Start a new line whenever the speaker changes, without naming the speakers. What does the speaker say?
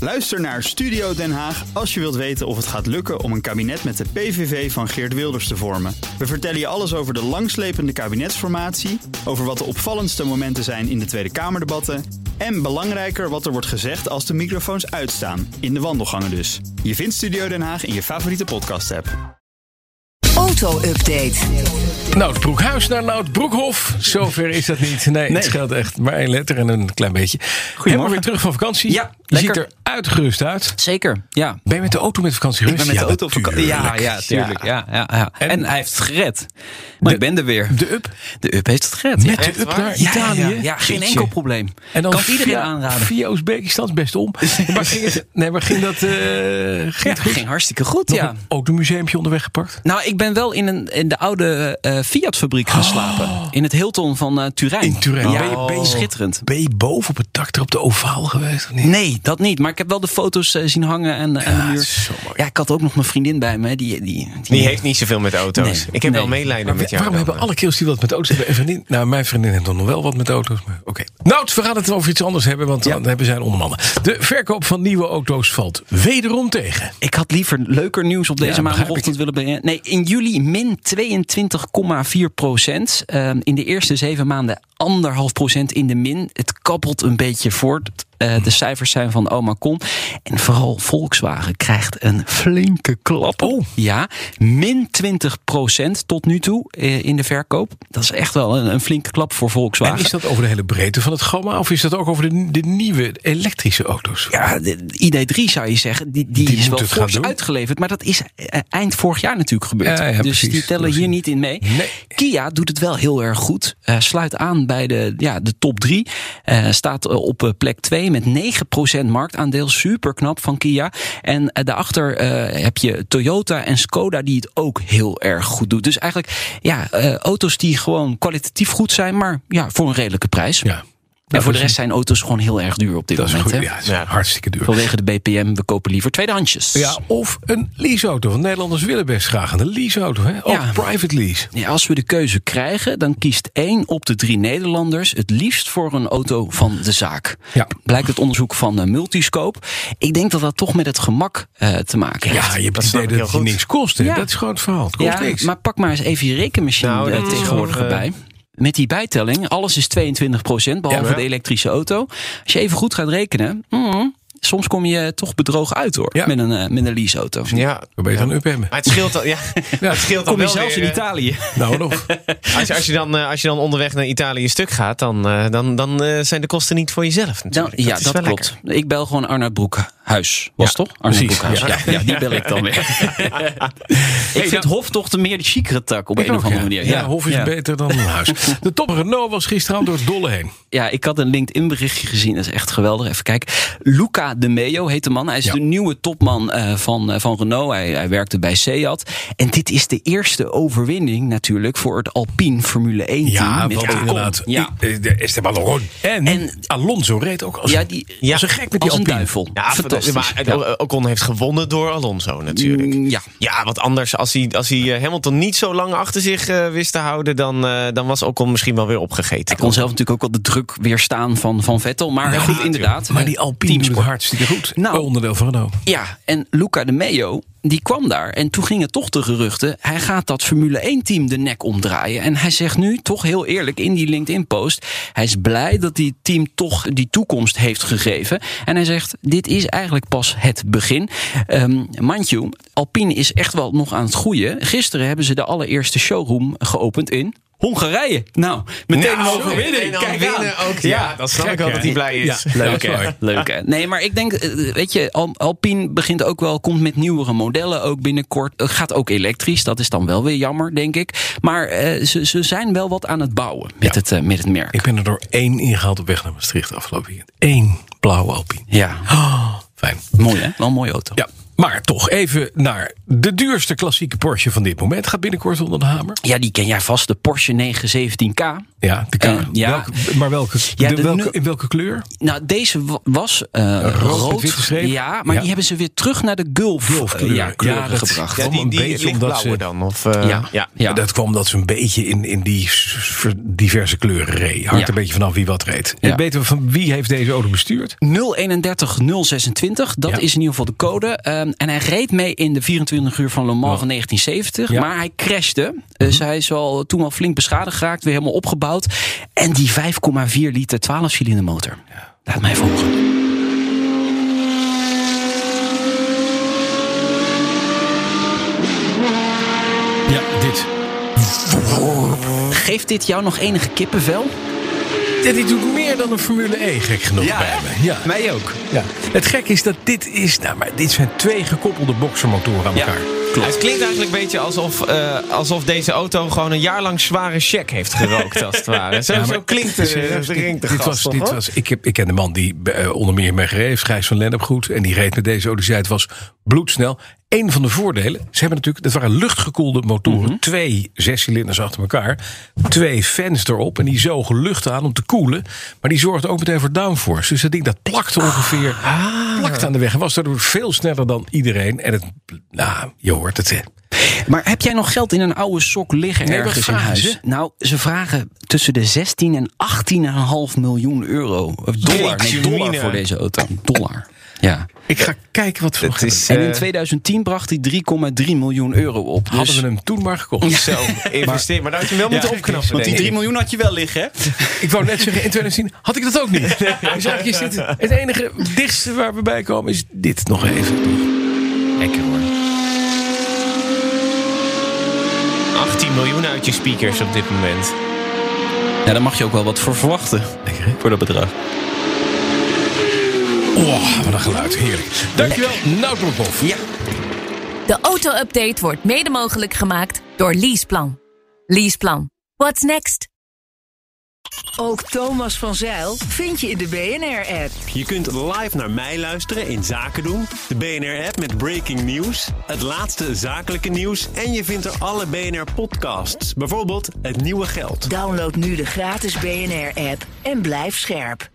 Luister naar Studio Den Haag als je wilt weten of het gaat lukken om een kabinet met de PVV van Geert Wilders te vormen. We vertellen je alles over de langslepende kabinetsformatie, over wat de opvallendste momenten zijn in de Tweede Kamerdebatten en belangrijker wat er wordt gezegd als de microfoons uitstaan, in de wandelgangen dus. Je vindt Studio Den Haag in je favoriete podcast-app.
Auto-update.
Nou, Broekhuis naar Nout Broekhof. Zover is dat niet. Nee,
Nee.
het scheelt echt maar één letter en een klein beetje. Helemaal weer terug van vakantie.
Ja,
je ziet
lekker.
er uitgerust uit.
Zeker, ja.
Ben je met de auto met vakantie
Ik
gerust?
ben met de auto op vakantie. Ja, ja,
tuurlijk.
tuurlijk. Ja, ja, ja. En,
En-
hij heeft het gered. Maar ik ben er weer.
De up.
De up heeft het gered.
Met
ja.
de up naar
Ja,
Italië.
Ja, ja, ja, geen
Jeetje.
enkel probleem.
En dan
kan ik iedereen
via,
aanraden.
Via Oezbekistan is best om. maar ging, het, nee, maar ging dat eh ging
Ja,
het goed?
ging hartstikke goed,
Nog
ja.
een automuseumpje onderweg gepakt?
Nou, ik ben wel in, een, in de oude eh, Fiat-fabriek gaan slapen. In het Hilton van eh, Turijn. Oh.
In Turijn.
Ja,
Ben je- ben je-
schitterend.
Ben je boven op het dak er op de ovaal geweest? Of niet?
Nee, dat niet. Maar ik heb wel de foto's eh, zien hangen en, en de
het
muur.
is zo mooi.
Ja, ik had ook nog mijn vriendin bij me. hè. Die, die, die,
Die heeft niet zoveel met auto's.
Nee.
ik heb
Nee.
wel meelijden
Maar
met jou.
waarom
dan. eh.
hebben alle kerels die wat met auto's hebben? Een vriendin, nou, mijn vriendin heeft dan nog wel wat met auto's. Maar oké. Nou, we gaan het over iets anders hebben, want dan hebben zij een ondermannen. De verkoop van nieuwe auto's valt wederom tegen.
Ik had liever leuker nieuws op deze
Ja,
maandagochtend willen brengen. Nee, in juli min 22,4 procent. Ehm, in de eerste zeven maanden anderhalf procent in de min. Het kabbelt een beetje voort. Eh, de cijfers zijn van oma Kon. En vooral Volkswagen krijgt een flinke klap.
Oh.
Ja, min 20 procent tot nu toe eh, in de verkoop. Dat is echt wel een, een flinke klap voor Volkswagen.
En is dat over de hele breedte van het gamma? Of is dat ook over de, de nieuwe elektrische auto's?
ja, de- de ID3 zou je zeggen, die, die,
Die
is
moet
wel
het gaan
fors
doen.
uitgeleverd. Maar dat is eh, eind vorig jaar natuurlijk gebeurd.
Ja, ja,
dus
precies.
die tellen hier niet in mee.
Nee.
Kia doet het wel heel erg goed. Eh, sluit aan bij de, ja, de top 3. staat eh, op eh, plek 2 met 9% marktaandeel. Super knap van Kia. En eh, daarachter eh, heb je Toyota en Skoda die het ook heel erg goed doen. Dus eigenlijk ja, eh, auto's die gewoon kwalitatief goed zijn, maar ja, voor een redelijke prijs.
Ja,
en
dat
voor de
is-
rest zijn auto's gewoon heel erg duur op dit
dat is
moment.
goed.
hè?
Ja, dat is
Ja.
hartstikke duur.
Vanwege de BPM, we kopen liever tweedehandsjes.
Ja, of een leaseauto. Want Nederlanders willen best graag een leaseauto. Hè? Of
Ja.
private lease.
Ja, als we de keuze krijgen, dan kiest één op de drie Nederlanders het liefst voor een auto van de zaak.
Ja.
Blijkt het onderzoek van eh, Multiscope. Ik denk dat dat toch met het gemak eh, te maken heeft.
Ja, je hebt het
snap
idee
ik
dat het je
heel goed.
niks kost. Hè?
Ja.
Dat is gewoon het verhaal. Het kost
Ja,
niks.
maar pak maar eens even je rekenmachine
Nou,
eh,
dat is
tegenwoordig
gewoon, eh,
erbij. Met die bijtelling, alles is 22 behalve
Ja, maar-
de elektrische auto. Als je even goed gaat rekenen, mm, soms kom je toch bedroog uit hoor,
Ja.
met een, eh, met een leaseauto.
Ja.
Dan ben je dan up hebben.
Maar het scheelt al. Ja, het scheelt dan
Kom je
wel
zelfs
weer,
in
eh,
Italië.
Nou, nog.
Als, je- als, je dan, eh, als je dan onderweg naar Italië stuk gaat, dan, eh, dan, dan eh, zijn de kosten niet voor jezelf
Dan,
natuurlijk.
ja,
is
dat,
wel
klopt.
lekker.
Ik bel gewoon Arnoud Broekhuis. Was het toch? Arnoud
precies,
Broekhuis. Ja. Ja, die bel ik dan weer. ik vind Hof toch de meer de chicere tak op een
Ik
of
ook,
andere
ja.
manier.
Ja, Hof is
ja.
beter dan een huis. De top Renault was gisteravond door het dolle heen.
Ja, ik had een LinkedIn berichtje gezien. Dat is echt geweldig. Even kijken. Luca de Meo heet de man. Hij is
Ja.
de nieuwe topman eh, van, eh, van Renault. Hij, hij werkte bij Seat. En dit is de eerste overwinning natuurlijk voor het Alpine Formule 1 team.
Ja,
met
want
Ocon.
inderdaad.
Ja.
i- eh, de Esteban Ocon. En,
En-
Alonso reed ook als,
Ja,
een-
die-
als een gek met die
Als een
Alpine.
duivel.
Ja,
Fantastisch.
Maar
Ja.
eh, Ocon heeft gewonnen door Alonso natuurlijk.
Mm, ja.
Ja, want anders, als hij, als hij eh, Hamilton niet zo lang achter zich eh, wist te houden, dan, eh, dan was Ocon misschien wel weer opgegeten.
Hij kon zelf natuurlijk ook wel de druk weerstaan van, van Vettel. Maar goed, inderdaad.
Maar
eh,
die Alpine doet het hartstikke goed.
Nou.
onderdeel van Renault.
Ja, en Luca de Meo, die kwam daar. En toen gingen toch de geruchten. Hij gaat dat Formule 1-team de nek omdraaien. En hij zegt nu, toch heel eerlijk in die LinkedIn-post... hij is blij dat die team toch die toekomst heeft gegeven. En hij zegt, dit is eigenlijk pas het begin. Ehm mind you, Alpine is echt wel nog aan het groeien. Gisteren hebben ze de allereerste showroom geopend in... Hongarije. Nou, meteen een
Nou,
overwinning.
meteen al
Kijk aan.
winnen ook. Ja, dan snap ik wel dat hij blij is.
Ja, leuk.
Leuk, hè? Leuk, hè? Nee, maar ik denk, eh, weet je, Al- Alpine begint ook wel, komt met nieuwere modellen ook binnenkort. Eh, Gaat ook elektrisch, dat is dan wel weer jammer, denk ik. Maar eh, ze, ze zijn wel wat aan het bouwen met,
Ja.
het, eh, met het merk.
Ik ben er door één ingehaald op weg naar Maastricht afgelopen weekend. Eén blauwe Alpine.
Ja,
Ah, fijn.
mooi hè? Wel een mooie auto.
Ja, maar toch even naar de duurste klassieke Porsche van dit moment. Gaat binnenkort onder de hamer.
Ja, die ken jij vast, de Porsche 917K.
Ja, de kaart.
Eh, ja.
Welke- maar welke,
Ja,
de-
de
welke,
nu-
in welke kleur?
Nou, deze wa- was eh,
rood
rood.
met witte streep.
Ja, maar
Ja.
die hebben ze weer terug naar de gulf,
Gulfkleur.
eh, ja, kleuren
Ja, dat-
gebracht.
Ja,
Ja,
Allemaal
die,
een
die
beetje omdat
lichtblauwe
ze-
dan? Of, eh,
Ja.
ja.
Ja.
Dat kwam dat ze een beetje in, in die s- s- diverse kleuren reed. Hangt
Ja.
een beetje vanaf wie wat reed.
Ja.
En weten we van wie heeft deze auto bestuurd?
031 026, dat
Ja.
is in ieder geval de code. Ehm, en hij reed mee in de 24 uur van Le Mans van 1970.
Ja. Mhm.
Maar hij crashte. Dus hij is al, toen al flink beschadigd geraakt, weer helemaal opgebouwd. En die 5,4 liter 12-cilinder motor. Laat mij volgen.
Ja, dit.
Geeft dit jou nog enige kippenvel?
Ja, die doet meer dan een Formule 1, gek genoeg
Ja,
bij
hè?
me. Ja.
Mij ook.
Ja. Het gek is dat dit is... Nou, maar dit zijn twee gekoppelde boksermotoren aan
Ja.
elkaar.
Het klinkt eigenlijk een beetje alsof, eh, alsof deze auto gewoon een jaar lang zware check heeft gerookt, als het ware. Zo,
maar-
zo klinkt de,
Serieus,
de,
dit-
ringt de
dit
gast,
was,
toch,
dit
hoor?
was, ik, heb, ik ken de man die eh, onder meer mee gereden heeft, Gijs van Lennep goed. En die reed met deze auto. Die zei het was bloedsnel. Eén van de voordelen, ze hebben natuurlijk, dat waren luchtgekoelde motoren.
Mhm.
Twee zescilinders achter elkaar. Twee fans erop. En die zogen lucht aan om te koelen. Maar die zorgden ook meteen voor downforce. Dus dat ding dat plakte
Ah.
ongeveer. Plakte aan de weg. En was daardoor veel sneller dan iedereen. En het, nou, je hoort het. hè.
Maar heb jij nog geld in een oude sok liggen
Nee, wat
ergens in
vragen
huis?
ze?
Nou, ze vragen tussen de 16 en 18,5 miljoen euro. Of dollar. Nee,
Jeetje
dollar
mina.
voor deze auto. Dollar. Ja.
Ik ga kijken wat we nog
Het is,
En in
eh,
2010 bracht hij 3,3 miljoen euro op. Dus
Hadden we hem toen maar gekocht.
zo investeer. Maar daar had je hem wel moeten opknappen.
Want die
denk
3
ik.
miljoen had je wel liggen, hè?
Ik wou net zeggen, in 2010 had ik dat ook niet. Dus eigenlijk is dit het enige dichtste waar we bij komen is dit nog even.
Lekker hoor. 18 miljoen uit je speakers op dit moment.
ja, daar mag je ook wel wat voor verwachten. Voor dat bedrag.
Oh, wat een geluid. Heerlijk. Dankjewel, Nout Broekhoff.
Ja.
De auto-update wordt mede mogelijk gemaakt door Leaseplan. Leaseplan. What's next? Ook Thomas van Zeil vind je in de BNR-app.
Je kunt live naar mij luisteren in Zaken doen. De BNR-app met breaking nieuws, het laatste zakelijke nieuws. En je vindt er alle BNR-podcasts, bijvoorbeeld Het Nieuwe Geld.
Download nu de gratis BNR-app en blijf scherp.